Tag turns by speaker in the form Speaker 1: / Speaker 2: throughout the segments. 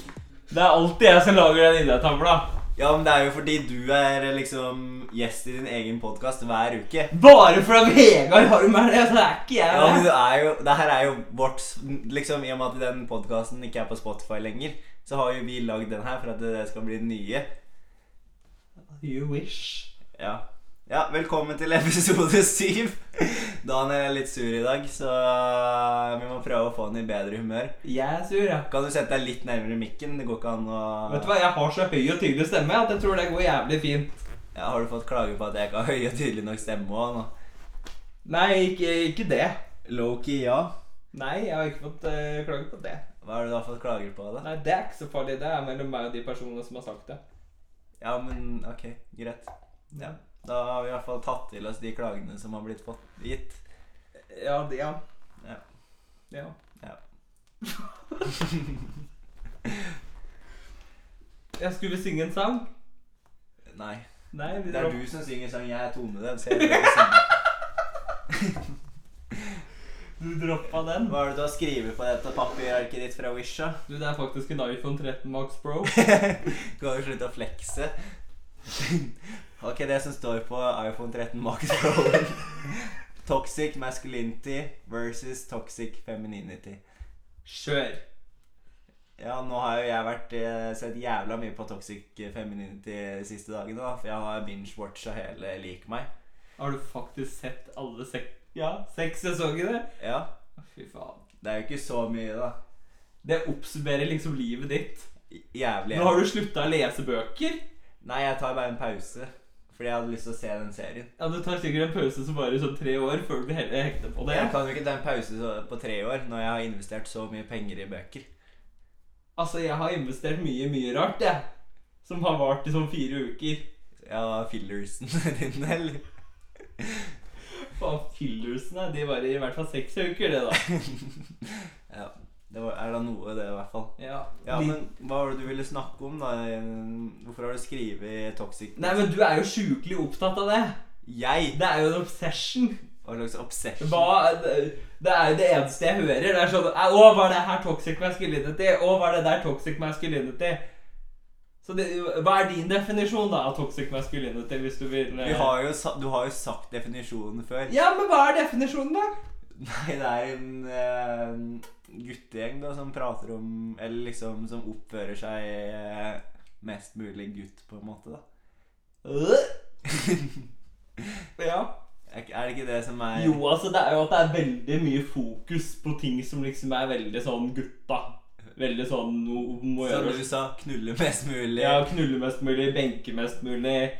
Speaker 1: er alltid jeg som lager den idrettstavla.
Speaker 2: Ja, men det er jo fordi du er liksom gjest i din egen podkast hver uke.
Speaker 1: Bare fordi Vegard har jo meg det, så er ikke jeg
Speaker 2: Ja, men du
Speaker 1: det.
Speaker 2: er jo, det her er jo vårt liksom, I og med at den podkasten ikke er på Spotify lenger, så har jo vi lagd den her for at det skal bli den nye.
Speaker 1: You wish.
Speaker 2: Ja. ja, velkommen til episode syv. Daniel er litt sur i dag, så vi må prøve å få han i bedre humør.
Speaker 1: Jeg er sur, ja.
Speaker 2: Kan du sette deg litt nærmere mikken? Det går ikke an å
Speaker 1: Vet du hva, jeg har så høy og tydelig stemme at jeg tror det går jævlig fint.
Speaker 2: Ja, Har du fått klage på at jeg ikke har høy og tydelig nok stemme òg nå?
Speaker 1: Nei, ikke, ikke det.
Speaker 2: Low-key, ja.
Speaker 1: Nei, jeg har ikke fått eh, klage på det.
Speaker 2: Hva er det du har fått klager på, da?
Speaker 1: Nei, det er ikke så farlig. Det er mellom meg og de personene som har sagt det.
Speaker 2: Ja, men ok, greit. Ja. Da har vi i hvert fall tatt til oss de klagene som har blitt fått gitt.
Speaker 1: Ja, det, ja.
Speaker 2: Ja.
Speaker 1: Ja.
Speaker 2: Ja.
Speaker 1: jeg skulle synge en sang.
Speaker 2: Nei.
Speaker 1: Nei, vi
Speaker 2: Det er
Speaker 1: dropp-
Speaker 2: du som synger sang 'Jeg er tonevenn', så jeg vil ikke synge.
Speaker 1: du droppa den.
Speaker 2: Hva er det du har skrevet på dette papirarket ditt fra Wish, da?
Speaker 1: Du, det er faktisk en iPhone 13 Max Pro.
Speaker 2: Kan du slutte å flekse? ok, det som står på iPhone 13 Max Pro Toxic masculinity versus toxic femininity.
Speaker 1: Kjør.
Speaker 2: Ja, nå har jo jeg vært, eh, sett jævla mye på toxic femininity de siste dagene, da, for jeg har binge-watcha hele Lik meg.
Speaker 1: Har du faktisk sett alle sek ja, seks sesongene?
Speaker 2: Ja,
Speaker 1: Å, Fy faen.
Speaker 2: Det er jo ikke så mye, da.
Speaker 1: Det oppsummerer liksom livet ditt.
Speaker 2: J- Jævlig.
Speaker 1: Nå har du slutta å lese bøker.
Speaker 2: Nei, jeg tar bare en pause. Fordi jeg hadde lyst til å se den serien.
Speaker 1: Ja, Du tar sikkert en pause som varer i sånn tre år før du heller hekter på det.
Speaker 2: Jeg kan jo ikke ta en pause så- på tre år når jeg har investert så mye penger i bøker.
Speaker 1: Altså, jeg har investert mye, mye rart, jeg. Som har vart i sånn fire uker.
Speaker 2: Ja, fillersen din, eller?
Speaker 1: Faen, fillersene, de varer i hvert fall seks uker, det, da.
Speaker 2: Ja, det var, er da noe, det, i hvert fall.
Speaker 1: Ja,
Speaker 2: Ja,
Speaker 1: vi-
Speaker 2: men Hva var det du ville snakke om, da? Hvorfor har du skrevet Toxic?
Speaker 1: Nei, men du er jo sjukelig opptatt av det.
Speaker 2: Jeg?
Speaker 1: Det er jo en obsession.
Speaker 2: Hva slags obsession?
Speaker 1: Hva Det er jo det eneste jeg hører. Det er sånn Å, var det her toxic masculinity? Å, var det der toxic masculinity? Så det, hva er din definisjon da av toxic masculinity, hvis du vil eh,
Speaker 2: Vi har jo, sa- du har jo sagt definisjonen før.
Speaker 1: Ja, men hva er definisjonen, da?
Speaker 2: Nei, det er en eh, guttegjeng da som prater om Eller liksom som oppfører seg eh, mest mulig gutt, på en måte, da. Øh?
Speaker 1: ja.
Speaker 2: Er ikke- er det ikke det som er
Speaker 1: Jo, altså, det er jo at det er veldig mye fokus på ting som liksom er veldig sånn gutta. Veldig sånn no, må
Speaker 2: Som
Speaker 1: gjøre
Speaker 2: du sa, knulle mest mulig.
Speaker 1: Ja, knulle mest mulig, benke mest mulig.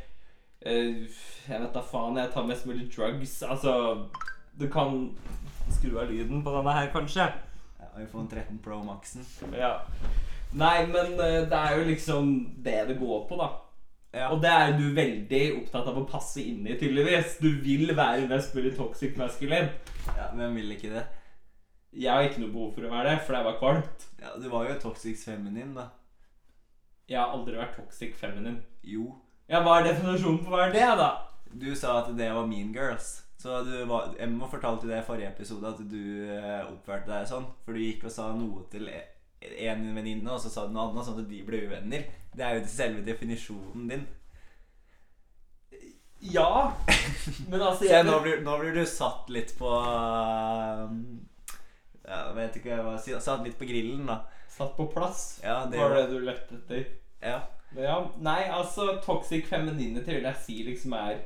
Speaker 1: eh, jeg vet da faen. Jeg tar mest mulig drugs. Altså Du kan skru av lyden på denne her, kanskje.
Speaker 2: Ja, iPhone 13 Pro Maxen.
Speaker 1: Ja. Nei, men eh, det er jo liksom det det går på, da.
Speaker 2: Ja.
Speaker 1: Og det er du veldig opptatt av å passe inn i, tydeligvis. Du vil være mest mulig toxic masculine.
Speaker 2: ja, Hvem vil ikke det?
Speaker 1: Jeg har ikke noe behov for å være det, for det var kvalmt.
Speaker 2: Ja, Du var jo toxic feminin, da.
Speaker 1: Jeg har aldri vært toxic feminin.
Speaker 2: Jo.
Speaker 1: Ja, hva er definisjonen på hva er det, da?
Speaker 2: Du sa at det var Mean Girls. Så du var, Emma fortalte det i forrige episode at du eh, oppførte deg sånn. For du gikk og sa noe til e- en venninne, og så sa du noe annet, sånn at de ble uvenner. Det er jo selve definisjonen din.
Speaker 1: Ja, men altså
Speaker 2: Se,
Speaker 1: jeg-
Speaker 2: nå blir, nå blir du satt litt på um, ja, Jeg vet ikke hva jeg var si- Satt litt på grillen, da.
Speaker 1: Satt på plass.
Speaker 2: Ja, det
Speaker 1: var det du lette etter.
Speaker 2: Ja.
Speaker 1: Men Ja, nei, altså Toxic femininity vil jeg si liksom er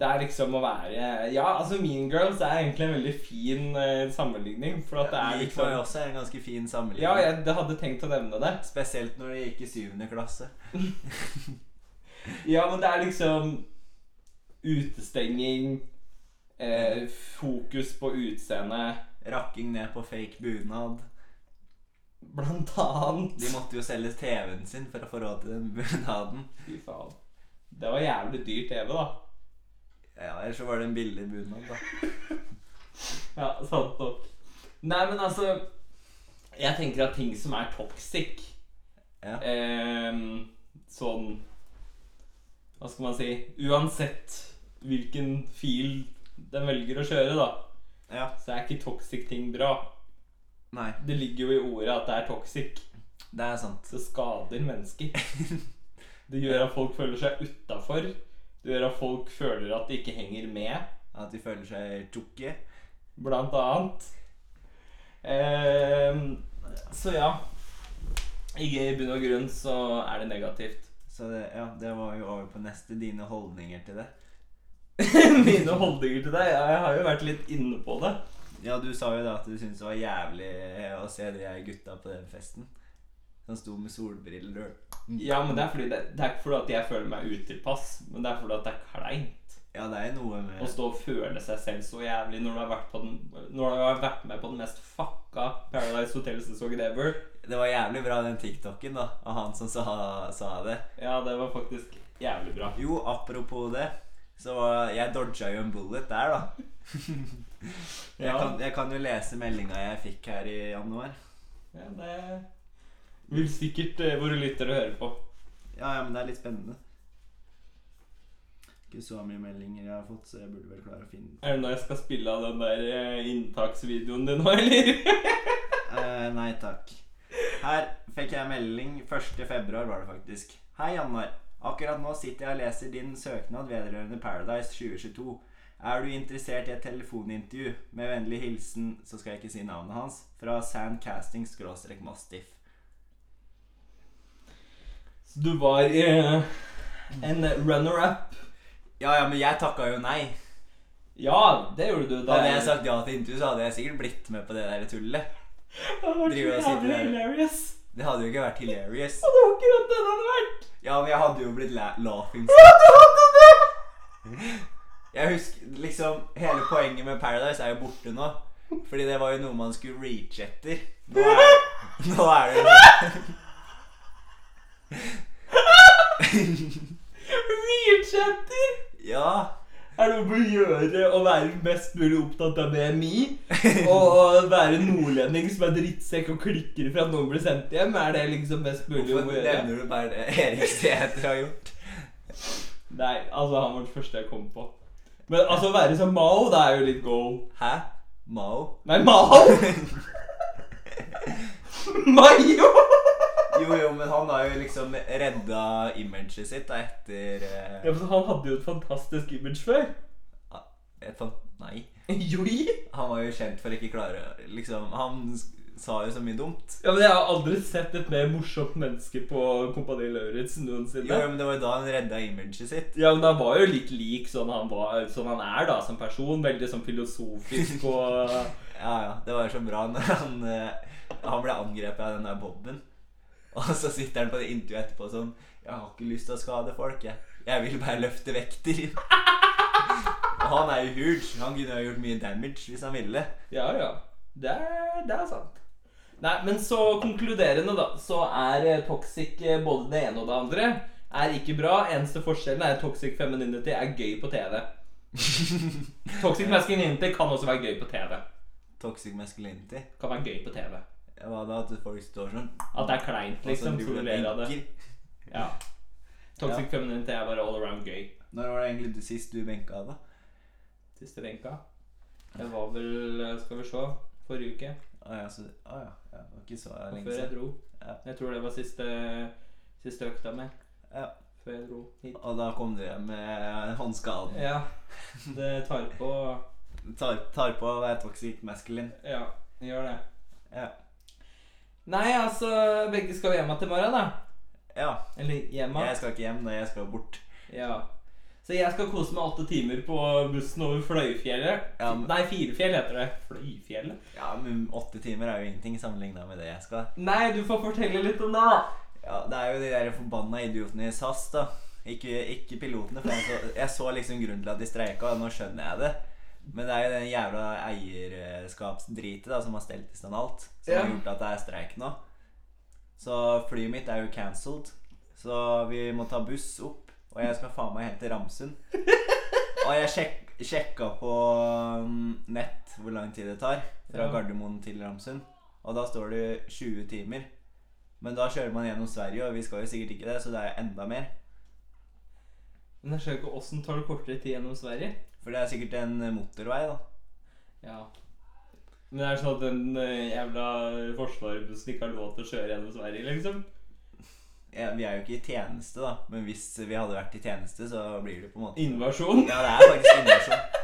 Speaker 1: Det er liksom å være Ja, altså Mean Girls er egentlig en veldig fin eh, sammenligning. For at det er
Speaker 2: Lik var jo
Speaker 1: liksom
Speaker 2: også en ganske fin sammenligning.
Speaker 1: Ja, jeg det hadde tenkt å nevne det.
Speaker 2: Spesielt når det gikk i syvende klasse.
Speaker 1: Ja, men det er liksom utestenging, eh, fokus på utseende
Speaker 2: Rakking ned på fake bunad.
Speaker 1: Blant annet.
Speaker 2: De måtte jo selge TV-en sin for å få råd til den bunaden.
Speaker 1: Fy faen. Det var jævlig dyr TV, da.
Speaker 2: Ja, Ellers så var det en billig bunad, da.
Speaker 1: Ja, sant nok. Nei, men altså Jeg tenker at ting som er toxic
Speaker 2: Ja.
Speaker 1: ehm, Sånn Hva skal man si Uansett hvilken fil den velger å kjøre, da,
Speaker 2: Ja.
Speaker 1: så er ikke toxic ting bra.
Speaker 2: Nei.
Speaker 1: Det ligger jo i ordet at det er toxic.
Speaker 2: Det er sant.
Speaker 1: Det skader mennesker. Det gjør at folk føler seg utafor. Det gjør at folk føler at de ikke henger med,
Speaker 2: At de føler seg tjukke.
Speaker 1: blant annet. Ehm, så ja. I bunn og grunn så er det negativt.
Speaker 2: Så det, ja, det var jo over på neste. Dine holdninger til det.
Speaker 1: Mine holdninger til deg? Ja, jeg har jo vært litt inne på det.
Speaker 2: Ja, du sa jo da at du syntes det var jævlig eh, å se de her gutta på den festen. Som sto med solbriller og
Speaker 1: Ja, men Det er fordi det, det er ikke fordi at jeg føler meg utilpass, men det er fordi at det er kleint
Speaker 2: Ja, det er jo noe med
Speaker 1: å stå og føle seg selv så jævlig når du har vært, på den, når du har vært med på den mest fucka Paradise Hotel-sesongen ever.
Speaker 2: Det var jævlig bra den TikToken da, av han som sa, sa det.
Speaker 1: Ja, det var faktisk jævlig bra.
Speaker 2: Jo, apropos det, så var jeg dodga jo en bullet der, da. Jeg,
Speaker 1: Ja.
Speaker 2: kan, jeg kan jo lese meldinga jeg fikk her i januar.
Speaker 1: Ja, det vil sikkert eh, våre lyttere høre på.
Speaker 2: Ja, ja, men det er litt spennende. Ikke så mye meldinger jeg har fått, så jeg burde vel klare å finne
Speaker 1: Er det når jeg skal spille av den der eh, inntaksvideoen din nå, eller?
Speaker 2: Eh, Nei takk. Her fikk jeg melding 1. februar, var det faktisk. Hei, Jannar. Akkurat nå sitter jeg og leser din søknad vedrørende Paradise 2022. Er du interessert i et telefonintervju? Med vennlig hilsen, så skal jeg ikke si navnet hans, fra Sand Casting skråstrek Mastiff.
Speaker 1: Så du var eh, en runner-up.
Speaker 2: Ja, ja, men jeg takka jo nei.
Speaker 1: Ja, det gjorde du. Det
Speaker 2: Hadde jeg sagt ja til intervju, så hadde jeg sikkert blitt med på det der tullet.
Speaker 1: Det var
Speaker 2: Driver og
Speaker 1: så
Speaker 2: sitter
Speaker 1: jævlig
Speaker 2: der.
Speaker 1: hilarious.
Speaker 2: Det hadde jo ikke vært hilarious.
Speaker 1: Og det var akkurat det det hadde vært.
Speaker 2: Ja, men jeg hadde jo blitt la laughing
Speaker 1: Ja, du hadde det!
Speaker 2: Jeg husker liksom Hele poenget med Paradise er jo borte nå. Fordi det var jo noe man skulle reach etter. Nå er, nå er det
Speaker 1: Reach-etter.
Speaker 2: Ja.
Speaker 1: Er det om å gjøre å være mest mulig opptatt av BMI? Og være nordlending som er drittsekk og klikker for at noen blir sendt hjem? Er det liksom mest mulig
Speaker 2: Hvorfor
Speaker 1: om å gjøre?
Speaker 2: nevner du bare det Erik Sæther har gjort?
Speaker 1: Nei, altså han var den første jeg kom på. Men altså å være som Mao, det er jo litt goal.
Speaker 2: Hæ? Mao?
Speaker 1: Nei, Mao! Mayo!
Speaker 2: Jo, jo, men han har jo liksom redda imaget sitt da, etter eh,
Speaker 1: Ja, men han hadde jo et fantastisk image før.
Speaker 2: et sånt Nei.
Speaker 1: Joi!
Speaker 2: Han var jo kjent for ikke klare Liksom, han s- sa jo så mye dumt.
Speaker 1: Ja, men Jeg har aldri sett et mer morsomt menneske på Kompani Lauritzen noensinne.
Speaker 2: Jo, jo, men det var jo da han redda imaget sitt.
Speaker 1: Ja, men Han var jo litt lik sånn han, var, sånn han er da som person. Veldig sånn filosofisk og
Speaker 2: Ja, ja. Det var jo så bra når han, eh, han ble angrepet av den der Bobben. Og så sitter han på det intervjuet etterpå og sånn Jeg har ikke lyst til å skade folk, jeg. Jeg vil bare løfte vekter. Og han er jo huge. Han kunne ha gjort mye damage hvis han ville.
Speaker 1: Ja, ja. Det er, det er sant. Nei, men så konkluderende, da, så er eh, toxic eh, både det ene og det andre. Er ikke bra. Eneste forskjellen er at toxic femininity er gøy på TV. Toxic masculinity kan også være gøy på TV.
Speaker 2: Toxic masculinity.
Speaker 1: Kan være gøy på TV.
Speaker 2: Hva da? At folk står sånn
Speaker 1: At det er kleint,
Speaker 2: og så
Speaker 1: liksom. Så
Speaker 2: driver
Speaker 1: du
Speaker 2: de
Speaker 1: ler
Speaker 2: og
Speaker 1: av det.
Speaker 2: benker.
Speaker 1: Ja. Toxic femininity er bare all around gøy.
Speaker 2: Når var det egentlig du sist du benka, da?
Speaker 1: Siste benka. Det var vel eh, Skal vi se. Forrige uke.
Speaker 2: Å ja, så, å, ja. ja. Det var ikke så lenge
Speaker 1: Før jeg
Speaker 2: siden.
Speaker 1: dro.
Speaker 2: Ja.
Speaker 1: Jeg tror det var siste, siste økta mi.
Speaker 2: Ja.
Speaker 1: Før jeg dro hit.
Speaker 2: Og da kom du hjem med håndskaden.
Speaker 1: Ja. Det tar på
Speaker 2: Tar, tar på å være toxic masculine.
Speaker 1: Ja, det gjør det.
Speaker 2: Ja.
Speaker 1: Nei, altså Begge skal hjem igjen i morgen, da.
Speaker 2: Ja.
Speaker 1: Eller hjem igjen.
Speaker 2: Jeg skal ikke hjem, da. Jeg skal bort.
Speaker 1: Ja. Så jeg skal kose meg åtte timer på bussen over Fløyfjellet.
Speaker 2: Ja, men-
Speaker 1: Nei, Firefjell heter det. Fløyfjellet?
Speaker 2: Ja, men åtte timer er jo ingenting sammenligna med det jeg skal.
Speaker 1: Nei, du får fortelle litt om det, da.
Speaker 2: Ja, Det er jo de der forbanna idiotene i SAS, da. Ikke, ikke pilotene, for jeg så, jeg så liksom grunnen til at de streika, og nå skjønner jeg det. Men det er jo den jævla eierskapsdritet da, som har stelt i stand alt, som
Speaker 1: Ja.
Speaker 2: har gjort at det er streik nå. Så flyet mitt er jo cancelled, så vi må ta buss opp, og jeg skal faen meg helt til Ramsund. Og jeg sjek, sjekka på mm, nett hvor lang tid det tar fra
Speaker 1: Ja.
Speaker 2: Gardermoen til Ramsund, og da står det 20 timer. Men da kjører man gjennom Sverige, og vi skal jo sikkert ikke det, så det er enda mer.
Speaker 1: Men jeg skjønner ikke åssen tar det kortere tid gjennom Sverige.
Speaker 2: For det er sikkert en motorvei, da.
Speaker 1: Ja. Men det er sånn at den eh, jævla forsvarerbussen ikke har lov til å kjøre gjennom Sverige, liksom.
Speaker 2: Ja, vi er jo ikke i tjeneste, da. Men hvis vi hadde vært i tjeneste, så blir det på en måte
Speaker 1: Invasjon.
Speaker 2: Ja, det er faktisk innafor.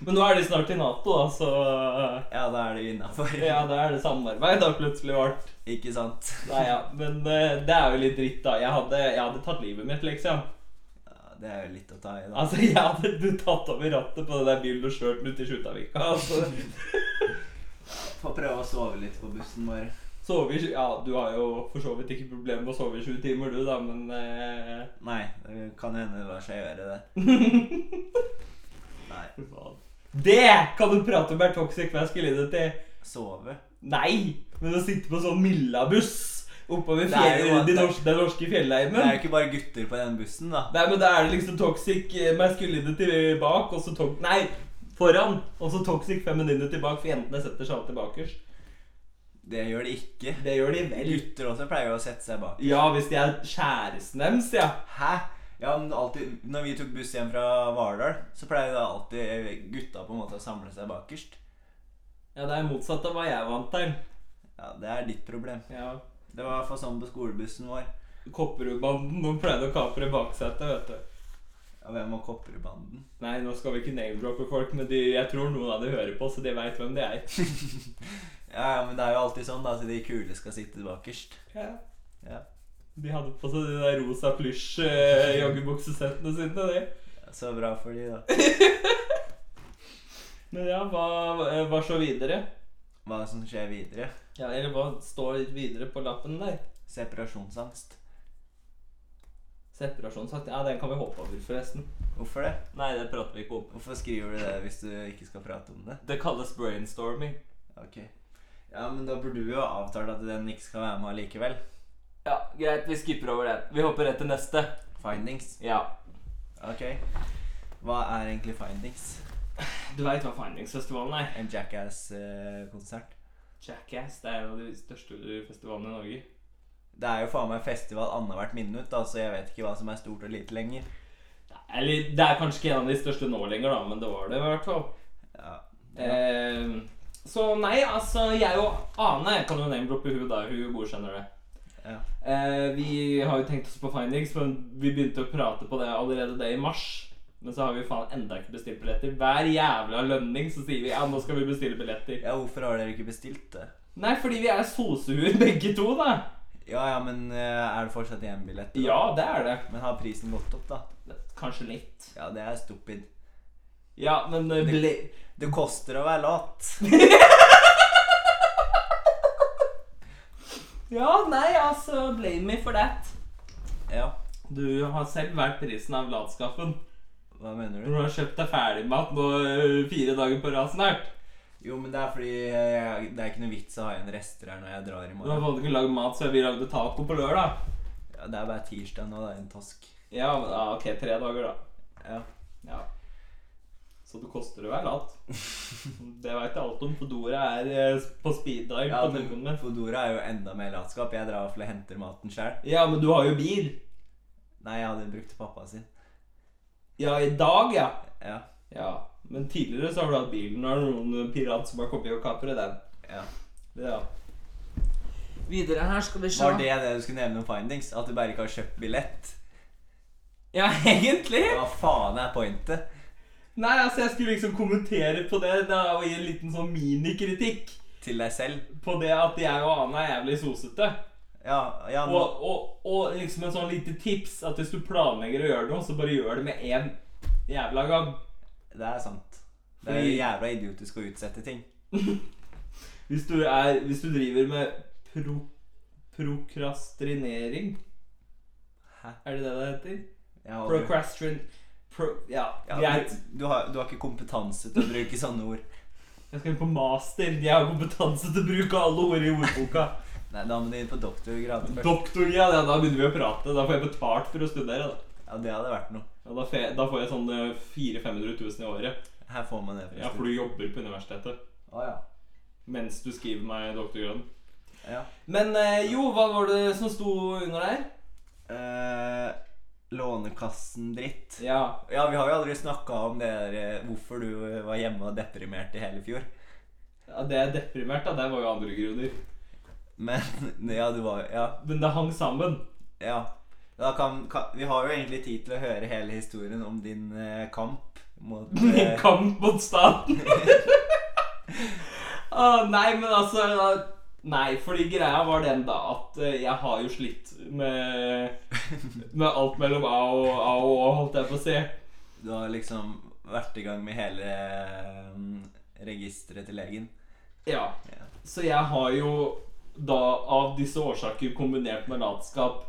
Speaker 1: Men nå er de snart i Nato, da, så eh,
Speaker 2: Ja, da er det innafor.
Speaker 1: Ja, da er det samarbeid, da, plutselig vårt.
Speaker 2: Ikke sant?
Speaker 1: Nei, ja. Men eh, det er jo litt dritt, da. Jeg hadde, jeg hadde tatt livet mitt, liksom.
Speaker 2: Ja, det er jo litt å ta i, da.
Speaker 1: Altså, jeg hadde du tatt over rattet på den der bilen og kjørt den ut i Skjutavika. Altså,
Speaker 2: Få prøve å sove litt på bussen, bare.
Speaker 1: sove i sju- Ja, du har jo for så vidt ikke problemer med å sove i sju timer, du, da, men eh,
Speaker 2: Nei, det kan hende det lar seg gjøre, det. Nei.
Speaker 1: fy faen. Det kan du prate om er toxic masculinity!
Speaker 2: Sove?
Speaker 1: Nei! Men å sitte på sånn Milla-buss oppover
Speaker 2: Det er jo
Speaker 1: fjell,
Speaker 2: at
Speaker 1: de
Speaker 2: det-
Speaker 1: norske, den norske
Speaker 2: Det er
Speaker 1: fjellheimen
Speaker 2: jo ikke bare gutter på den bussen, da.
Speaker 1: Nei, men da er det liksom toxic eh, masculinity bak, og så to Nei, foran! Og så toxic femininity bak, for jentene setter seg alltid bakerst.
Speaker 2: Det gjør det ikke.
Speaker 1: Det gjør de vel.
Speaker 2: Gutter også pleier jo å sette seg bak.
Speaker 1: Ja, hvis de er kjæresten deres, ja.
Speaker 2: Hæ? Ja, men alltid, når vi tok buss hjem fra Vardal, så pleier da alltid gutta på en måte å samle seg bakerst.
Speaker 1: Ja, det er motsatt av hva jeg vant til.
Speaker 2: Ja, Det er ditt problem.
Speaker 1: Ja.
Speaker 2: Det var i hvert fall sånn på skolebussen vår.
Speaker 1: Kopperudbanden de pleide å kapre baksetet, vet du.
Speaker 2: Ja, Hvem var Kopperbanden?
Speaker 1: Nei, nå skal vi ikke name-droppe folk, men de, jeg tror noen av de hører på, så de veit hvem de er.
Speaker 2: Ja, ja, men det er jo alltid sånn da, at de kule skal sitte bakerst.
Speaker 1: Ja.
Speaker 2: Ja.
Speaker 1: De hadde på seg de der rosa plysj-joggebuksesettene sine, de.
Speaker 2: Ja, Så bra for de, da.
Speaker 1: Men ja, hva, eh, hva så videre?
Speaker 2: Hva som skjer videre?
Speaker 1: Ja, Eller hva står videre på lappen der?
Speaker 2: Separasjonsangst.
Speaker 1: Separasjonsakt. Ja, den kan vi hoppe over, forresten.
Speaker 2: Hvorfor det?
Speaker 1: Nei, det prater vi ikke om.
Speaker 2: Hvorfor skriver du det hvis du ikke skal prate om det?
Speaker 1: Det kalles brainstorming.
Speaker 2: Ok. Ja, men da burde vi jo ha avtalt at den ikke skal være med allikevel.
Speaker 1: Ja, greit, vi skipper over den. Vi hopper rett til neste.
Speaker 2: Findings.
Speaker 1: Ja.
Speaker 2: Ok. Hva er egentlig findings?
Speaker 1: Du veit hva Findings-festivalen er?
Speaker 2: En eh, Jackass-konsert?
Speaker 1: Jackass det er en av de største festivalene i Norge.
Speaker 2: Det er jo faen meg festival annethvert minutt, da, så jeg vet ikke hva som er stort og lite lenger.
Speaker 1: Eller det er kanskje ikke en av de største nå lenger, da, men det var det i hvert fall.
Speaker 2: Ja.
Speaker 1: Eh, så nei, altså Jeg og Ane jeg kan jo name-droppe hun da. Hun godkjenner det.
Speaker 2: Ja.
Speaker 1: Eh, vi har jo tenkt oss på Findings, men vi begynte å prate på det allerede det i mars. Men så har vi faen enda ikke bestilt billetter. Hver jævla lønning så sier vi ja, nå skal vi bestille billetter.
Speaker 2: ja, hvorfor har dere ikke bestilt det?
Speaker 1: Nei, fordi vi er sosehuer begge to, da.
Speaker 2: Ja ja, men eh, er det fortsatt én billett? da?
Speaker 1: Ja, det er det.
Speaker 2: Men har prisen gått opp, da?
Speaker 1: Kanskje litt.
Speaker 2: Ja, det er stupid.
Speaker 1: Ja, men eh,
Speaker 2: Det,
Speaker 1: ble...
Speaker 2: det koster å være lat.
Speaker 1: Ja, nei, altså, blame me for that.
Speaker 2: Ja,
Speaker 1: Du har selv vært prisen av latskapen.
Speaker 2: hva mener
Speaker 1: Når
Speaker 2: du?
Speaker 1: du har kjøpt deg ferdigmat nå ø, fire dager på rad snart.
Speaker 2: Jo, men det er fordi eh, det er ikke noe vits å ha igjen rester her når jeg drar i
Speaker 1: Du har
Speaker 2: morgen.
Speaker 1: fått ikke lagd mat, så vi lagde taco på lørdag.
Speaker 2: Ja, det er bare tirsdag nå, det er en tosk.
Speaker 1: Ja, men, ja, ok, tre dager, da.
Speaker 2: Ja.
Speaker 1: Ja. Så det koster å være lat. Det veit jeg alt om, for Dora er ø, på speed dial
Speaker 2: Ja,
Speaker 1: på
Speaker 2: men
Speaker 1: telefonen min.
Speaker 2: Fodora er jo enda mer latskap. Jeg drar for å hente maten sjøl.
Speaker 1: Ja, men du har jo bil.
Speaker 2: Nei, jeg hadde brukt pappa sin.
Speaker 1: Ja, i dag, ja.
Speaker 2: Ja.
Speaker 1: Ja, Men tidligere så har du hatt bilen. Nå er det noen eh, pirat som har kommet og kapret den.
Speaker 2: ja.
Speaker 1: Ja. Videre her skal vi
Speaker 2: Var det det du skulle nevne om findings? At du bare ikke har kjøpt billett?
Speaker 1: Ja, egentlig.
Speaker 2: Hva faen er pointet?
Speaker 1: Nei, altså jeg skulle liksom kommentere på det da, og gi en liten sånn minikritikk
Speaker 2: Til deg selv?
Speaker 1: på det at jeg og Ane er jævlig sosete.
Speaker 2: Ja, ja
Speaker 1: Og,
Speaker 2: nå,
Speaker 1: og, og liksom en sånn lite tips at hvis du planlegger å gjøre noe, så bare gjør det med én jævla gang.
Speaker 2: det er sant. Det er jo jævla idiotisk å utsette ting.
Speaker 1: Hvis du, er, hvis du driver med pro, prokrastrinering
Speaker 2: Hæ?
Speaker 1: Er det det det heter?
Speaker 2: Jeg har aldri-
Speaker 1: Procrastrin... Pro, ja,
Speaker 2: ja,
Speaker 1: greit.
Speaker 2: du, du, har, du har ikke kompetanse til å bruke sånne ord.
Speaker 1: Jeg skal inn på master. Jeg har kompetanse til å bruke alle ord i ordboka.
Speaker 2: Nei, Da må du inn på doktorgrad først.
Speaker 1: Doktorgrad, ja, da begynner vi å prate. Da får jeg betalt for å studere. Da,
Speaker 2: Ja, Det hadde vært noe.
Speaker 1: ja, da, får, jeg, da får jeg sånn 400 500 000 i året.
Speaker 2: Her får man det.
Speaker 1: Ja, for du jobber på universitetet
Speaker 2: Å, ja.
Speaker 1: mens du skriver meg doktorgraden.
Speaker 2: ja.
Speaker 1: Men eh, jo, hva var det som sto under der?
Speaker 2: Eh, lånekassen dritt.
Speaker 1: Ja.
Speaker 2: Ja, vi har jo aldri snakka om det der, eh, hvorfor du var hjemme og deprimert i hele fjor.
Speaker 1: Ja, det er deprimert, da. Det var jo andre grunner.
Speaker 2: Men ja, du var Ja.
Speaker 1: Men det hang sammen.
Speaker 2: ja. Da kan, kan, vi har jo egentlig tid til å høre hele historien om din eh, kamp mot
Speaker 1: Min
Speaker 2: eh,
Speaker 1: kamp mot staten. ah, nei, men altså Nei, fordi greia var den da at eh, jeg har jo slitt med Med alt mellom A og A og Å, holdt jeg på å si.
Speaker 2: Du har liksom vært i gang med hele mm, registeret til legen.
Speaker 1: Ja.
Speaker 2: Ja.
Speaker 1: Så jeg har jo da av disse årsaker kombinert med latskap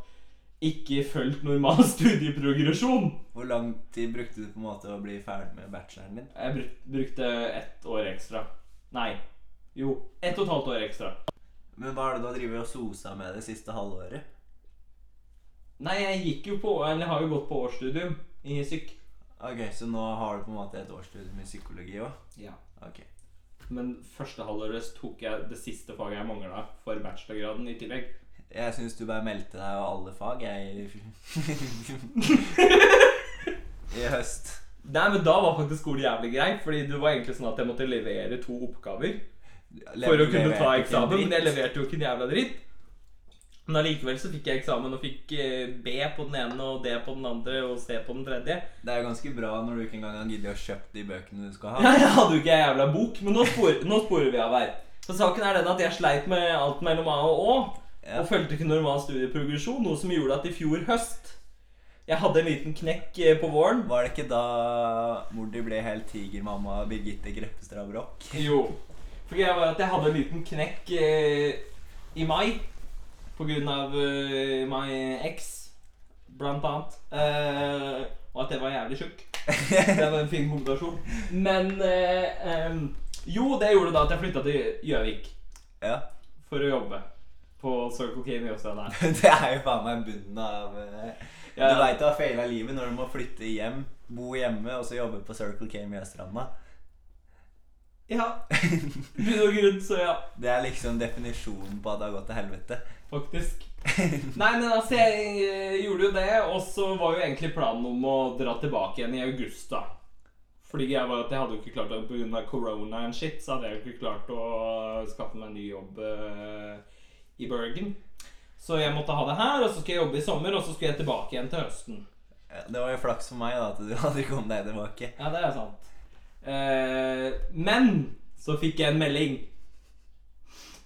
Speaker 1: ikke fulgt normal studieprogresjon.
Speaker 2: Hvor lang tid brukte du på en måte å bli ferdig med bacheloren din?
Speaker 1: Jeg bruk, brukte ett år ekstra. Nei. Jo, ett og et halvt år ekstra.
Speaker 2: Men hva er det du har drevet og sosa med det siste halvåret?
Speaker 1: Nei, jeg gikk jo på Eller har jo gått på årsstudium i psyk.
Speaker 2: Ok, Så nå har du på en måte et årsstudium i psykologi òg?
Speaker 1: Ja.
Speaker 2: Ok.
Speaker 1: Men første halvåret tok jeg det siste faget jeg mangla for bachelorgraden i tillegg.
Speaker 2: Jeg syns du bare meldte deg av alle fag, jeg. I høst.
Speaker 1: Nei, men Da var faktisk skole jævlig grei, Fordi det var egentlig sånn at jeg måtte levere to oppgaver for å kunne ta eksamen. Men jeg leverte jo ikke en jævla dritt. Men allikevel så fikk jeg eksamen og fikk eh, B på den ene og D på den andre og C på den tredje.
Speaker 2: Det er jo ganske bra når du ikke engang har giddet å kjøpt de bøkene du skal
Speaker 1: Ja,
Speaker 2: ha.
Speaker 1: jeg hadde jo ikke ei jævla bok, men nå, spor, nå sporer vi av her. Så saken er den at jeg sleit med alt mellom A og Å.
Speaker 2: Ja.
Speaker 1: Og fulgte ikke normal studieprogresjon, noe som gjorde at i fjor høst Jeg hadde en liten knekk eh, på våren.
Speaker 2: Var det ikke da mor di ble helt tigermamma Birgitte Greppestad Broch?
Speaker 1: Jo. For greia var at jeg hadde en liten knekk eh, i mai. På grunn av eh, my ex, blant annet. Eh, og at jeg var jævlig tjukk. Det var en fin kombinasjon. Men eh, em, Jo, det gjorde da at jeg flytta til Gjøvik
Speaker 2: Ja.
Speaker 1: for å jobbe. På Circle K i Mjøsstein her.
Speaker 2: Det er jo faen meg bunnen av eh,
Speaker 1: Ja.
Speaker 2: Du veit du har feila livet når du må flytte hjem, bo hjemme og så jobbe på Circle K Mjøstranda.
Speaker 1: Ja. Bunn og grunn, så ja.
Speaker 2: Det er liksom definisjonen på at det har gått til helvete.
Speaker 1: Faktisk. Nei, men altså, jeg eh, gjorde jo det, og så var jo egentlig planen om å dra tilbake igjen i august, da. Fordi jeg var at jeg hadde jo ikke klart det pga. corona and shit, så hadde jeg jo ikke klart å skaffe meg en ny jobb eh, i Bergen. Så jeg måtte ha det her, og så skulle jeg jobbe i sommer, og så skulle jeg tilbake igjen til høsten.
Speaker 2: Ja, Det var jo flaks for meg da at du aldri kom deg tilbake.
Speaker 1: Ja, det er sant. Eh, men så fikk jeg en melding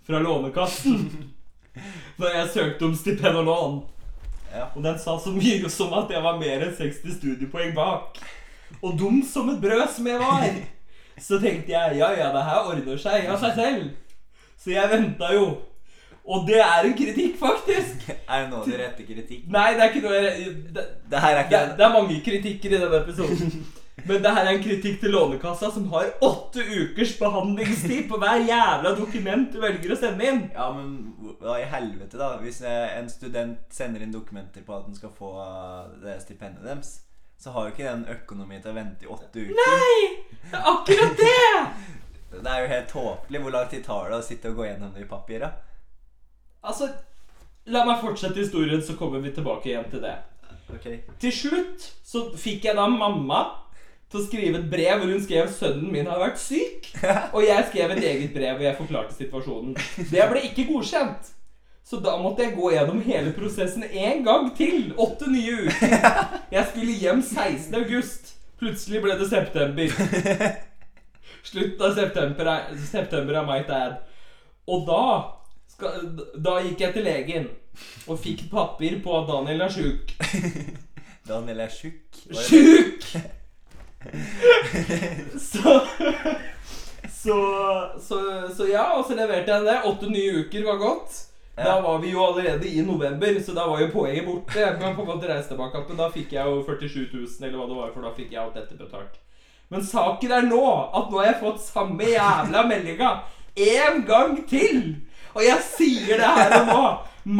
Speaker 1: fra Lånekassen da jeg søkte om stipend og lån.
Speaker 2: Ja.
Speaker 1: Og den sa så mye som at jeg var mer enn 60 studiepoeng bak. Og dum som et brød som jeg var. Så tenkte jeg ja, ja, det her ordner seg av seg selv. Så jeg venta jo. Og det er en kritikk, faktisk.
Speaker 2: Er det nå du retter kritikk?
Speaker 1: Nei, det er ikke noe jeg det,
Speaker 2: Det her er
Speaker 1: det,
Speaker 2: ikke
Speaker 1: det er mange kritikker i denne episoden. Men det her er en kritikk til Lånekassa, som har åtte ukers behandlingstid på hver jævla dokument du velger å sende inn.
Speaker 2: Ja, men hva i helvete, da? Hvis eh, en student sender inn dokumenter på at den skal få det stipendet deres, så har jo ikke den økonomi til å vente i åtte uker.
Speaker 1: Nei! Det er akkurat det!
Speaker 2: Det er jo helt tåpelig. Hvor lang tid tar det å sitte og gå gjennom de papira?
Speaker 1: Altså, la meg fortsette historien, så kommer vi tilbake igjen til det.
Speaker 2: Ok.
Speaker 1: Til slutt så fikk jeg da mamma til å skrive et brev hvor hun skrev sønnen min har vært syk. Og jeg skrev et eget brev hvor jeg forklarte situasjonen. Det ble ikke godkjent. Så da måtte jeg gå gjennom hele prosessen en gang til. Åtte nye uker. Jeg skulle hjem 16. august. Plutselig ble det september. Slutten av september er, september er my dad. Og da, skal, da gikk jeg til legen og fikk papir på at Daniel er sjuk.
Speaker 2: Daniel er tjukk. Hva er det?
Speaker 1: Sjuk! så, så, så, så ja, og så leverte jeg det. Åtte nye uker var godt. Da
Speaker 2: Ja.
Speaker 1: var vi jo allerede i november, så da var jo poenget borte. Jeg kan få godt reise tilbake igjen, men da fikk jeg jo 47 000, eller hva det var, for da fikk jeg alt dette betalt. Men saken er nå at nå har jeg fått samme jævla meldinga en gang til! Og jeg sier det her og nå.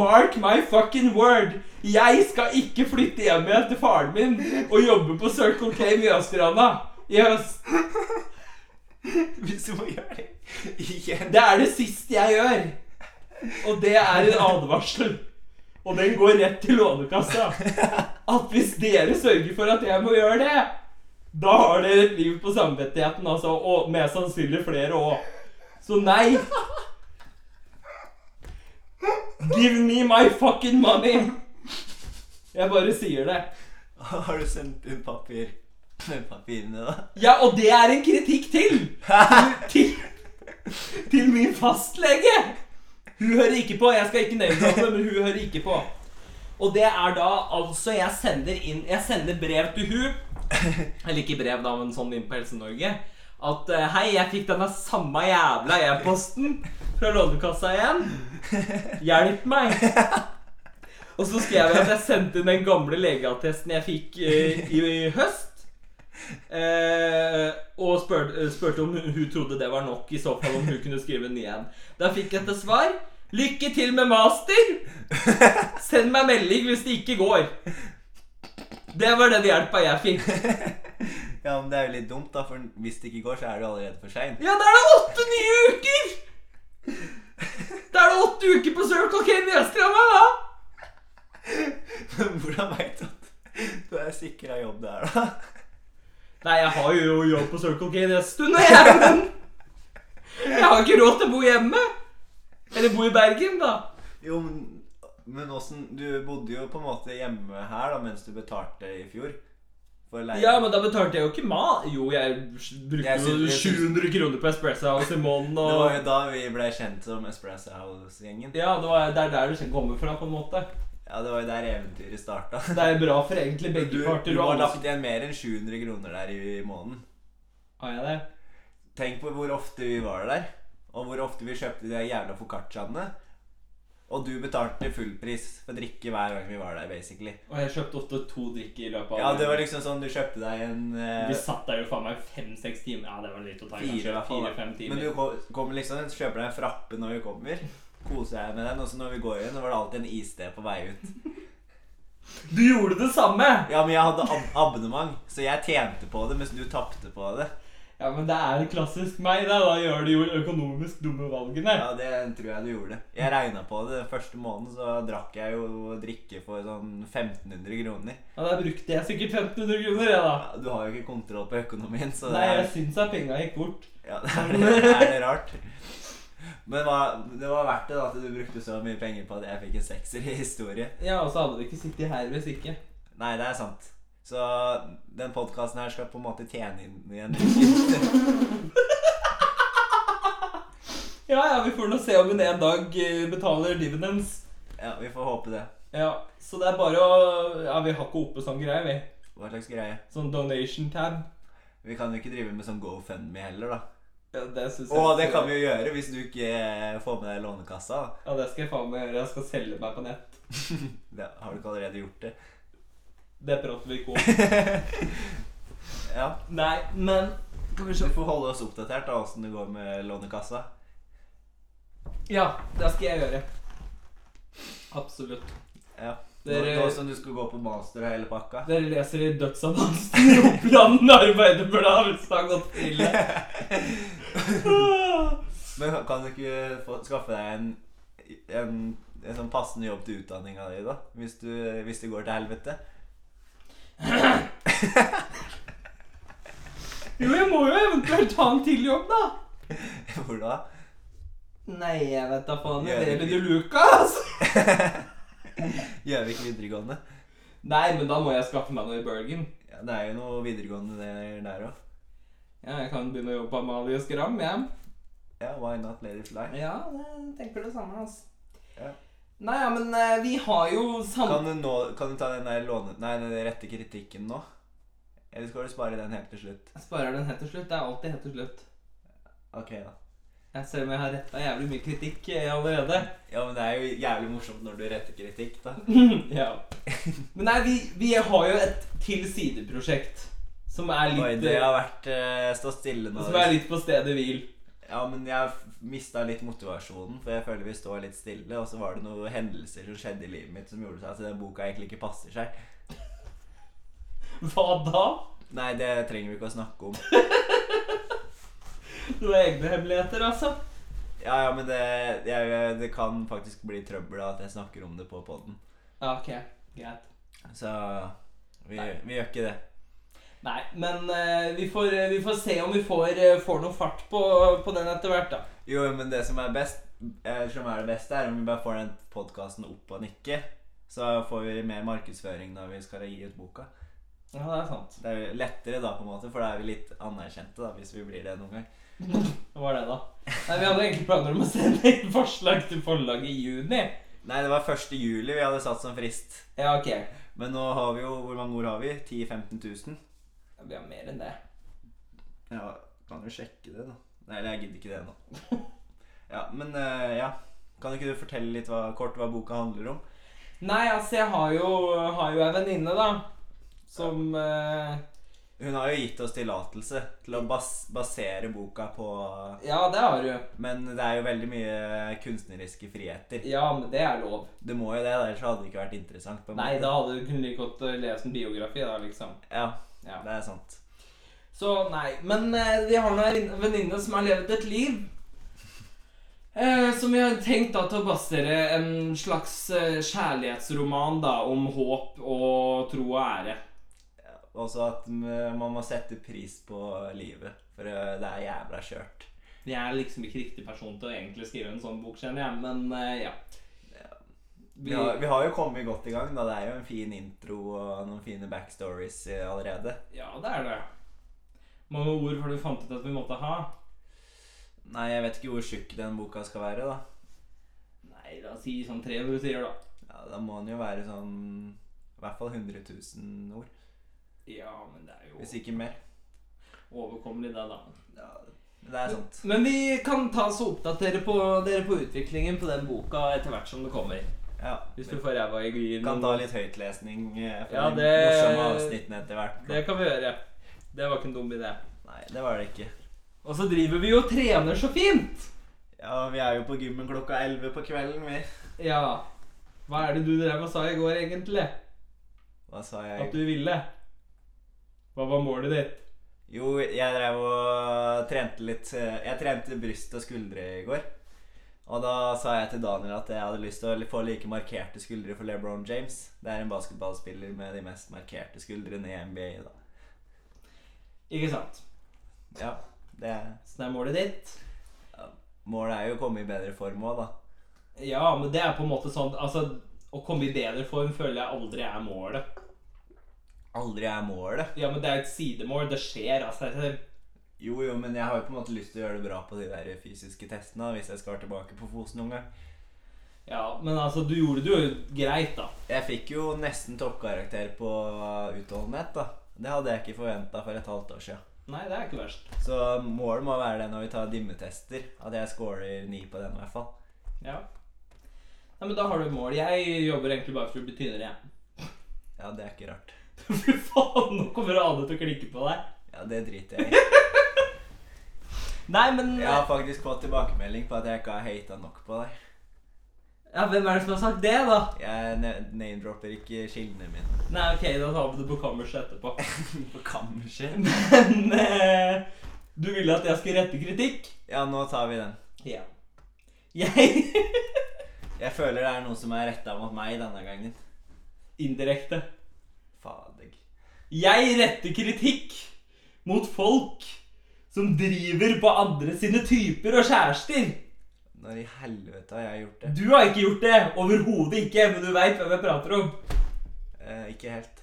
Speaker 1: Mark my fucking word. Jeg skal ikke flytte hjem igjen til faren min og jobbe på Circle K Mjøsstranda i høst.
Speaker 2: Hvis du må gjøre det igjen
Speaker 1: Det er det siste jeg gjør. Og det er en advarsel. Og den går rett til Lånekassa. At hvis dere sørger for at jeg må gjøre det, da har dere et liv på samvittigheten, altså. Og mest sannsynlig flere òg. Så nei. Give me my fucking money! Jeg bare sier det.
Speaker 2: Har du sendt inn papir? papirene, da?
Speaker 1: Ja, og det er en kritikk til! Til, til min fastlege! Hun hører ikke på. Jeg skal ikke nevne henne, men hun hører ikke på. Og det er da altså Jeg sender inn Jeg sender brev til hun Eller ikke brev, da, men sånn inn på Helse Norge. At eh, hei, jeg fikk denne samme jævla e-posten fra Lånekassa igjen. Hjelp meg! Og så skrev jeg at jeg sendte inn den gamle legeattesten jeg fikk eh, i, i høst. Eh, og spør, eh, spurte om hun, hun trodde det var nok, i så fall om hun kunne skrive en ny en. Da fikk jeg til svar Lykke til med master! Send meg melding hvis det ikke går. Det var den hjelpa jeg fikk.
Speaker 2: Ja, men det er jo litt dumt, da, for hvis det ikke går, så er det jo allerede for seint.
Speaker 1: Ja, da er det åtte nye uker! Da er det åtte uker på Circle K Neskrama, da!
Speaker 2: Hvordan veit du at du er sikra jobb der, da?
Speaker 1: Nei, jeg har jo jobb på Circle K en stund, og jeg, men jeg har ikke råd til å bo hjemme. Eller bo i Bergen, da.
Speaker 2: Jo, men- men åssen Du bodde jo på en måte hjemme her da mens du betalte i fjor. For leie.
Speaker 1: Ja, men da betalte jeg jo ikke mat. Jo, jeg brukte
Speaker 2: Jeg
Speaker 1: jo
Speaker 2: synes- jeg synes-
Speaker 1: 700 kroner på Espresso House i måneden.
Speaker 2: Det var
Speaker 1: Og...
Speaker 2: jo da vi ble kjent som Espresso House-gjengen.
Speaker 1: Ja, det, var, det er der du kommer fra, på en måte.
Speaker 2: Ja, det var jo der eventyret starta.
Speaker 1: Det er bra for egentlig
Speaker 2: Du,
Speaker 1: begge parter.
Speaker 2: du
Speaker 1: og
Speaker 2: har
Speaker 1: alle-
Speaker 2: lagt igjen mer enn 700 kroner der i måneden.
Speaker 1: Har jeg det?
Speaker 2: Tenk på hvor ofte vi var der, og hvor ofte vi kjøpte de jævla foccacciaene. Og du betalte fullpris for drikke hver gang vi var der, basically.
Speaker 1: Og jeg kjøpte ofte to drikker i løpet av
Speaker 2: Ja, det var liksom sånn du kjøpte deg en eh,
Speaker 1: Vi satt der jo faen meg fem-seks timer. Ja, det var litt å ta i,
Speaker 2: Fire, i hvert fall. da.
Speaker 1: Fire-fem timer.
Speaker 2: Men du ko- kommer liksom, kjøper deg en frappe når vi kommer. Koser deg med den. Og så når vi går igjen, da var det alltid en iste på vei ut.
Speaker 1: du gjorde det samme!
Speaker 2: Ja, men jeg hadde ab abonnement, så jeg tjente på det, mens du tapte på det.
Speaker 1: Ja, men det er klassisk meg, da. Da gjør de jo økonomisk dumme valgene.
Speaker 2: Ja, det tror jeg du gjorde. Jeg regna på det. Den første måneden så drakk jeg jo drikke for sånn 1500 kroner.
Speaker 1: Ja, da brukte jeg sikkert 1500 kroner, jeg, da.
Speaker 2: Ja, Du har jo ikke kontroll på økonomien, så det
Speaker 1: Nei,
Speaker 2: er,
Speaker 1: jeg syns at penga gikk bort.
Speaker 2: ja, det er, det, er det rart. Men hva, det var verdt det da, at du brukte så mye penger på at jeg fikk en sekser i historie.
Speaker 1: Ja, og så hadde de ikke sittet her hvis ikke.
Speaker 2: Nei, det er sant. Så den podkasten her skal på en måte tjene inn igjen.
Speaker 1: Ja, ja, vi får nå se om hun en dag eh, betaler dividends.
Speaker 2: Ja, vi får håpe det.
Speaker 1: Ja, så det er bare å Ja, vi har ikke oppe sånn greie, vi.
Speaker 2: Hva slags greie?
Speaker 1: Sånn donation tab.
Speaker 2: Vi kan jo ikke drive med sånn GoFundMe heller, da.
Speaker 1: Ja, det synes jeg
Speaker 2: Og det kan vi jo gjøre hvis du ikke eh, får med deg Lånekassa. da.
Speaker 1: Ja, det skal jeg faen meg gjøre. Jeg skal selge meg på nett.
Speaker 2: Det, har du ikke allerede gjort det?
Speaker 1: Det prater vi ikke om.
Speaker 2: Ja.
Speaker 1: Nei, men
Speaker 2: Skal vi se. Du får holde oss oppdatert av åssen det går med Lånekassa.
Speaker 1: Ja, det skal jeg gjøre. Absolutt.
Speaker 2: Ja. Nå,
Speaker 1: Dere-
Speaker 2: nå som du skal gå på master og hele pakka.
Speaker 1: Dere leser i dødsannonsen i Oppland Arbeiderblad hvis det har gått ille. Ah,
Speaker 2: Men kan du ikke få, skaffe deg en, en, en sånn passende jobb til utdanninga di, da? Hvis, du, hvis det går til helvete?
Speaker 1: Jo, jeg må jo eventuelt ta en til jobb, da.
Speaker 2: Hvor da?
Speaker 1: Nei, jeg vet da faen.
Speaker 2: Gjør
Speaker 1: Det
Speaker 2: det
Speaker 1: blir
Speaker 2: ikke.
Speaker 1: du Lucas.
Speaker 2: Gjøvik videregående.
Speaker 1: Nei, men da må jeg skaffe meg noe i Bergen.
Speaker 2: Ja, det er jo noe videregående der- der òg.
Speaker 1: Ja, jeg kan begynne å jobbe på Amalie Skram, jeg.
Speaker 2: Ja, why not let it fly?
Speaker 1: Ja, jeg tenker det samme, altså.
Speaker 2: Ja.
Speaker 1: Nei, ja, men eh, vi har jo samme...
Speaker 2: Kan du, nå, kan du ta den der låne... Nei, den rette kritikken nå? Eller skal du spare den helt til slutt?
Speaker 1: Jeg sparer den helt til slutt. Det er alltid helt til slutt.
Speaker 2: Ok, da.
Speaker 1: Jeg ser om jeg har retta jævlig mye kritikk eh, allerede.
Speaker 2: Ja, men det er jo jævlig morsomt når du retter kritikk, da.
Speaker 1: ja. Men nei, vi, vi har jo et til side-prosjekt som er
Speaker 2: Oi,
Speaker 1: litt,
Speaker 2: det
Speaker 1: eh,
Speaker 2: har vært eh, Stå stille nå.
Speaker 1: som er litt på stedet hvil.
Speaker 2: Ja, men jeg mista litt motivasjonen, for jeg føler vi står litt stille. Og så var det noen hendelser som skjedde i livet mitt som gjorde at den boka egentlig ikke passer seg.
Speaker 1: Hva da?
Speaker 2: Nei, det trenger vi ikke å snakke om.
Speaker 1: Du har egne hemmeligheter, altså?
Speaker 2: Ja, ja, men det, jeg, det kan faktisk bli trøbbel av at jeg snakker om det på poden.
Speaker 1: Ja, ok. Greit.
Speaker 2: Så vi, vi gjør ikke det.
Speaker 1: Nei, men eh, vi, får, eh, vi får se om vi får, eh, får noe fart på, på den etter hvert, da.
Speaker 2: Jo, men det som er best eh, Som er det beste, er om vi bare får den podkasten opp og nikke. Så får vi mer markedsføring når vi skal gi ut boka.
Speaker 1: Ja, det er sant.
Speaker 2: Det er jo lettere da, på en måte, for da er vi litt anerkjente da, hvis vi blir det noen gang.
Speaker 1: Det var det, da. Nei, Vi hadde egentlig planer om å sende inn forslag til forlaget i juni.
Speaker 2: Nei, det var 1. juli vi hadde satt som frist.
Speaker 1: Ja, ok.
Speaker 2: Men nå har vi jo Hvor mange ord har vi? 10 000-15 000?
Speaker 1: Ja, Vi har mer enn det.
Speaker 2: Ja, kan jo sjekke det, da. Nei, eller jeg gidder ikke det nå. Ja, men eh, ja. Kan ikke du fortelle litt hva, kort hva boka handler om?
Speaker 1: Nei, altså, jeg har jo, har jo ei venninne, da, som eh,
Speaker 2: Hun har jo gitt oss tillatelse til å bas basere boka på
Speaker 1: Ja, det har du.
Speaker 2: Men det er jo veldig mye kunstneriske friheter.
Speaker 1: Ja, men det er lov.
Speaker 2: Det må jo det, da, ellers hadde det ikke vært interessant. På en
Speaker 1: Nei,
Speaker 2: måte.
Speaker 1: da hadde du kunne like godt eh, lest en biografi, da, liksom.
Speaker 2: Ja,
Speaker 1: Ja.
Speaker 2: det er sant.
Speaker 1: Så nei. Men eh, vi har nå en venninne som har levd et liv. Eh, som vi har tenkt da til å basere en slags eh, kjærlighetsroman da, om håp og tro og ære.
Speaker 2: Også at m- man må sette pris på livet, for eh, det er jævla kjørt.
Speaker 1: Jeg er liksom ikke riktig person til å egentlig skrive en sånn bok, kjenner jeg, men eh, ja.
Speaker 2: Vi, har- vi har jo kommet godt i gang, da. Det er jo en fin intro og noen fine backstories eh, allerede.
Speaker 1: Ja, det er det. Mange ord har du fant ut at vi måtte ha?
Speaker 2: Nei, jeg vet ikke hvor tjukk den boka skal være, da.
Speaker 1: Nei, la oss si sånn 300 sider, da.
Speaker 2: Ja, da må den jo være sånn I hvert fall 100 000 ord,
Speaker 1: Ja, men det er
Speaker 2: hvis
Speaker 1: jo
Speaker 2: ikke mer.
Speaker 1: overkommelig, det, da.
Speaker 2: Ja, det er sant.
Speaker 1: Men vi kan ta oss og oppdatere på, dere på utviklingen på den boka etter hvert som det kommer.
Speaker 2: Ja.
Speaker 1: Hvis du får ræva i glyen.
Speaker 2: Vi kan ta litt høytlesning eh, fra
Speaker 1: Ja,
Speaker 2: de
Speaker 1: det-
Speaker 2: morsomme avsnittene etter hvert.
Speaker 1: Det kan vi gjøre. Det var ikke en dum idé.
Speaker 2: Nei, det var det ikke.
Speaker 1: Og så driver vi jo og trener så fint!
Speaker 2: Ja, vi er jo på gymmen klokka 11 på kvelden, vi.
Speaker 1: Ja. Hva er det du drev og sa i går, egentlig?
Speaker 2: Hva sa
Speaker 1: At
Speaker 2: jeg?
Speaker 1: du ville? Hva var målet ditt?
Speaker 2: Jo, jeg drev og trente litt eh, Jeg trente bryst og skuldre i går. Og da sa jeg til Daniel at jeg hadde lyst til å få like markerte skuldre for LeBron James. Det er en basketballspiller med de mest markerte skuldrene i NBA, da.
Speaker 1: Ikke sant?
Speaker 2: Ja, det er
Speaker 1: Så det er målet ditt?
Speaker 2: Målet er jo å komme i bedre form òg, da.
Speaker 1: Ja, men det er på en måte sånn Altså, å komme i bedre form føler jeg aldri er målet.
Speaker 2: Aldri er målet.
Speaker 1: Ja, men det er et sidemål. Det skjer altså. av seg selv.
Speaker 2: Jo, jo, men jeg har jo på en måte lyst til å gjøre det bra på de der fysiske testene da, hvis jeg skal tilbake på Fosen noen gang.
Speaker 1: Ja, men altså, du gjorde det jo greit, da.
Speaker 2: Jeg fikk jo nesten toppkarakter på utholdenhet, da. Det hadde jeg ikke forventa for et halvt år siden.
Speaker 1: Nei, det er ikke verst.
Speaker 2: Så målet må være det når vi tar dimmetester, at jeg scorer ni på den i hvert fall.
Speaker 1: Ja. Nei, men da har du mål. Jeg jobber egentlig bare for å bli tynnere, jeg.
Speaker 2: Ja, det er ikke rart.
Speaker 1: Fy faen, nå kommer alle til å klikke på deg.
Speaker 2: Ja, det driter jeg i.
Speaker 1: Nei, men
Speaker 2: Jeg har faktisk fått tilbakemelding på at jeg ikke har hata nok på deg.
Speaker 1: Ja, hvem er det som har sagt det, da?
Speaker 2: Jeg ne- name-dropper ikke kildene mine.
Speaker 1: Nei, ok, da tar vi det på kammerset etterpå.
Speaker 2: på kammerset.
Speaker 1: Men eh, du ville at jeg skulle rette kritikk?
Speaker 2: Ja, nå tar vi den.
Speaker 1: Ja. Jeg
Speaker 2: Jeg føler det er noe som er retta mot meg denne gangen.
Speaker 1: Indirekte.
Speaker 2: Fadig.
Speaker 1: Jeg retter kritikk mot folk som driver på andre sine typer og kjærester.
Speaker 2: Når i helvete har jeg gjort det?
Speaker 1: Du har ikke gjort det. Overhodet ikke. Men du veit hvem jeg prater om.
Speaker 2: Eh, ikke helt.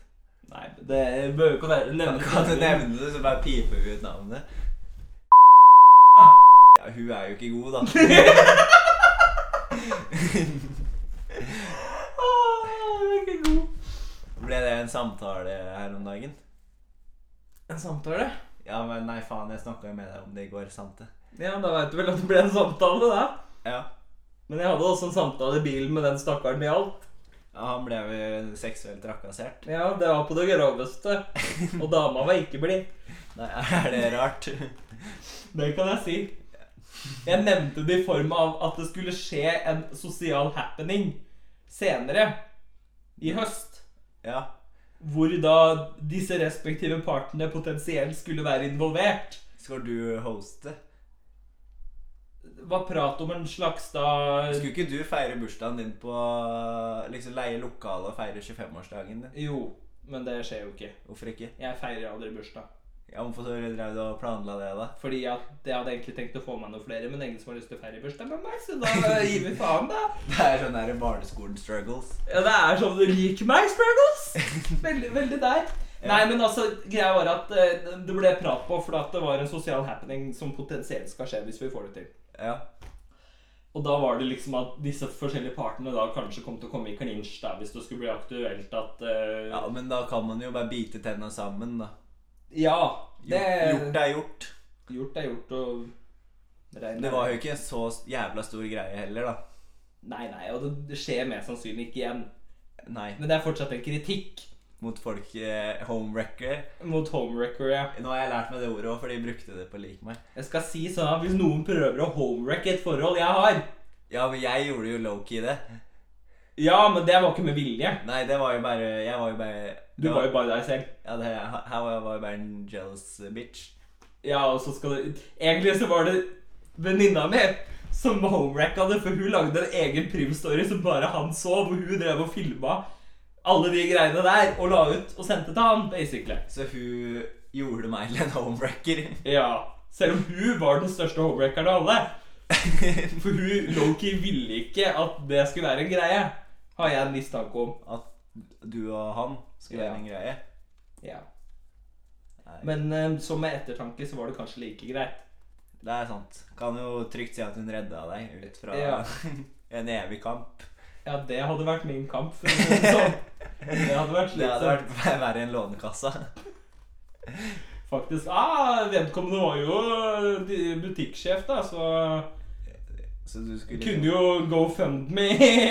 Speaker 1: Nei, men det bør jo ikke være
Speaker 2: Kan,
Speaker 1: nevne
Speaker 2: kan du nevne det, så bare piper vi ut navnet? Ah. Ja, hun er jo ikke god, da.
Speaker 1: Åh, det Ah, er ikke god.
Speaker 2: Ble det en samtale her om dagen?
Speaker 1: En samtale?
Speaker 2: Ja, men nei, faen, jeg snakka jo med deg om det i går, sant det?
Speaker 1: Ja, da veit du vel at det ble en samtale, da.
Speaker 2: Ja.
Speaker 1: Men jeg hadde også en samtale i bilen med den stakkaren det gjaldt.
Speaker 2: ja. Han ble vel seksuelt trakassert?
Speaker 1: Ja, det var på det groveste. Og dama var ikke blid.
Speaker 2: Nei, er det rart?
Speaker 1: Det kan jeg si. Jeg nevnte det i form av at det skulle skje en sosial happening senere, i høst,
Speaker 2: Ja.
Speaker 1: hvor da disse respektive partene potensielt skulle være involvert.
Speaker 2: Skal du hoste?
Speaker 1: Var prat om en slags da
Speaker 2: Skulle ikke du feire bursdagen din på Liksom leie lokale og feire 25-årsdagen din?
Speaker 1: Jo. Men det skjer jo ikke.
Speaker 2: Hvorfor ikke?
Speaker 1: Jeg feirer aldri bursdag.
Speaker 2: Ja, Hvorfor så drev du og planla det, da?
Speaker 1: Fordi at jeg hadde egentlig tenkt å få meg noen flere, men ingen som har lyst til å feire bursdag med meg, så da gir vi faen, da.
Speaker 2: Det er sånn der barneskolen-struggles.
Speaker 1: Ja, det er sånn lik meg, struggles! Veldig, veldig der.
Speaker 2: Ja.
Speaker 1: Nei, men altså, greia var at eh, det ble prat på fordi at det var en sosial happening som potensielt skal skje hvis vi får det til.
Speaker 2: Ja.
Speaker 1: Og da var det liksom at disse forskjellige partene da kanskje kom til å komme i klinsj da, hvis det skulle bli aktuelt at eh,
Speaker 2: ja, men da kan man jo bare bite tenna sammen, da.
Speaker 1: Ja, det
Speaker 2: Gjort, gjort er gjort.
Speaker 1: Gjort er gjort, og regn
Speaker 2: Det var jo ikke så jævla stor greie heller, da.
Speaker 1: Nei, nei, og det- det skjer mest sannsynlig ikke igjen.
Speaker 2: Nei.
Speaker 1: Men det er fortsatt en kritikk
Speaker 2: Mot folk eh, homewrecker.
Speaker 1: mot homewrecker, ja.
Speaker 2: Nå har jeg lært meg det ordet òg, for de brukte det på lik meg.
Speaker 1: Jeg skal si sånn at hvis noen prøver å homewreck et forhold jeg har
Speaker 2: Ja, men jeg gjorde jo low-key det.
Speaker 1: Ja, men det var ikke med vilje.
Speaker 2: Nei, det var jo bare Jeg var jo bare
Speaker 1: Du var jo bare deg selv.
Speaker 2: Ja, det, her var jeg bare en jealous bitch.
Speaker 1: Ja, og så skal det Egentlig så var det venninna mi som homewrecka det, for hun lagde en egen primstory som bare han så, hvor hun drev og filma alle de greiene der og la ut og sendte til han, basically.
Speaker 2: Så hun gjorde meg til en homewrecker.
Speaker 1: Ja. Selv om hun var den største homewreckeren av alle. For hun lowkey ville ikke at det skulle være en greie, har jeg en mistanke om.
Speaker 2: At du og han skulle
Speaker 1: Ja.
Speaker 2: være en greie.
Speaker 1: Ja.
Speaker 2: Nei.
Speaker 1: Men eh, så med ettertanke så var det kanskje like greit.
Speaker 2: Det er sant. Kan jo trygt si at hun redda deg ut fra
Speaker 1: Ja.
Speaker 2: en evig kamp.
Speaker 1: Ja, det hadde vært min kamp. For å si det sånn. Det hadde vært
Speaker 2: Det hadde
Speaker 1: slitsomt.
Speaker 2: vært verre enn Lånekassa.
Speaker 1: Faktisk. Ah, vedkommende var jo eh, butikksjef, da, så
Speaker 2: Så du skulle
Speaker 1: kunne jo GoFundMe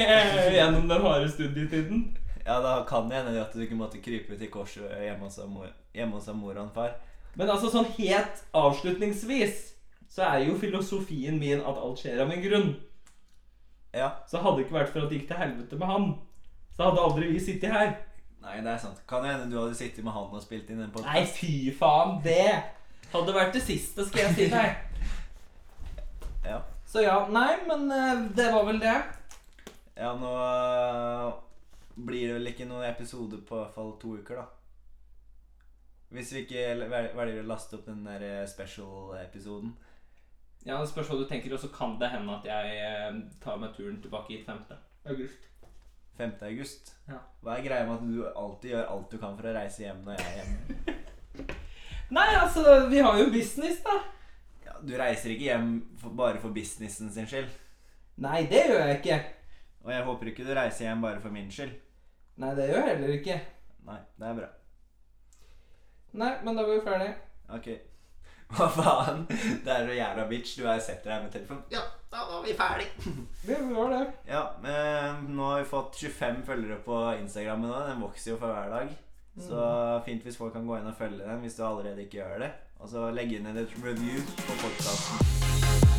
Speaker 1: gjennom den harde studietiden.
Speaker 2: Ja, da kan det hende at du ikke måtte krype til korset hjemme hos mor- hjemme hos mor og far.
Speaker 1: Men altså, sånn helt avslutningsvis så er jo filosofien min at alt skjer av en grunn.
Speaker 2: Ja.
Speaker 1: Så hadde det ikke vært for at det gikk til helvete med han, så hadde aldri vi sittet her.
Speaker 2: Nei, det er sant. Kan det hende du hadde sittet med han og spilt inn en
Speaker 1: Nei,
Speaker 2: podkast?
Speaker 1: fy faen, det hadde vært det siste, skal jeg si deg.
Speaker 2: Ja.
Speaker 1: Så ja, nei, men eh, det var vel det.
Speaker 2: ja, nå øh, blir det vel ikke noen episode på i hvert fall to uker, da. Hvis vi ikke vel- velger å laste opp den der eh, special-episoden.
Speaker 1: Ja, det spørs hva du tenker, og så kan det hende at jeg eh, tar meg turen tilbake hit 5. august.
Speaker 2: 5. august.
Speaker 1: Ja.
Speaker 2: Hva er greia med at du alltid gjør alt du kan for å reise hjem når jeg er hjemme?
Speaker 1: Nei, altså, vi har jo business, da.
Speaker 2: Ja, du reiser ikke hjem for, bare for businessen sin skyld.
Speaker 1: Nei, det gjør jeg ikke.
Speaker 2: Og jeg håper ikke du reiser hjem bare for min skyld.
Speaker 1: Nei, det gjør jeg heller ikke.
Speaker 2: Nei, det er bra.
Speaker 1: Nei, men da var vi ferdige.
Speaker 2: Ok. Hva faen? Det er så jævla bitch. Du er setter deg med telefonen. Ja, da var vi ferdig.
Speaker 1: Det var det.
Speaker 2: Ja, eh, nå har vi fått 25 følgere på Instagram nå. Den vokser jo for hver dag. Så fint hvis folk kan gå inn og følge den hvis du allerede ikke gjør det. Og så legge inn en review på podkasten.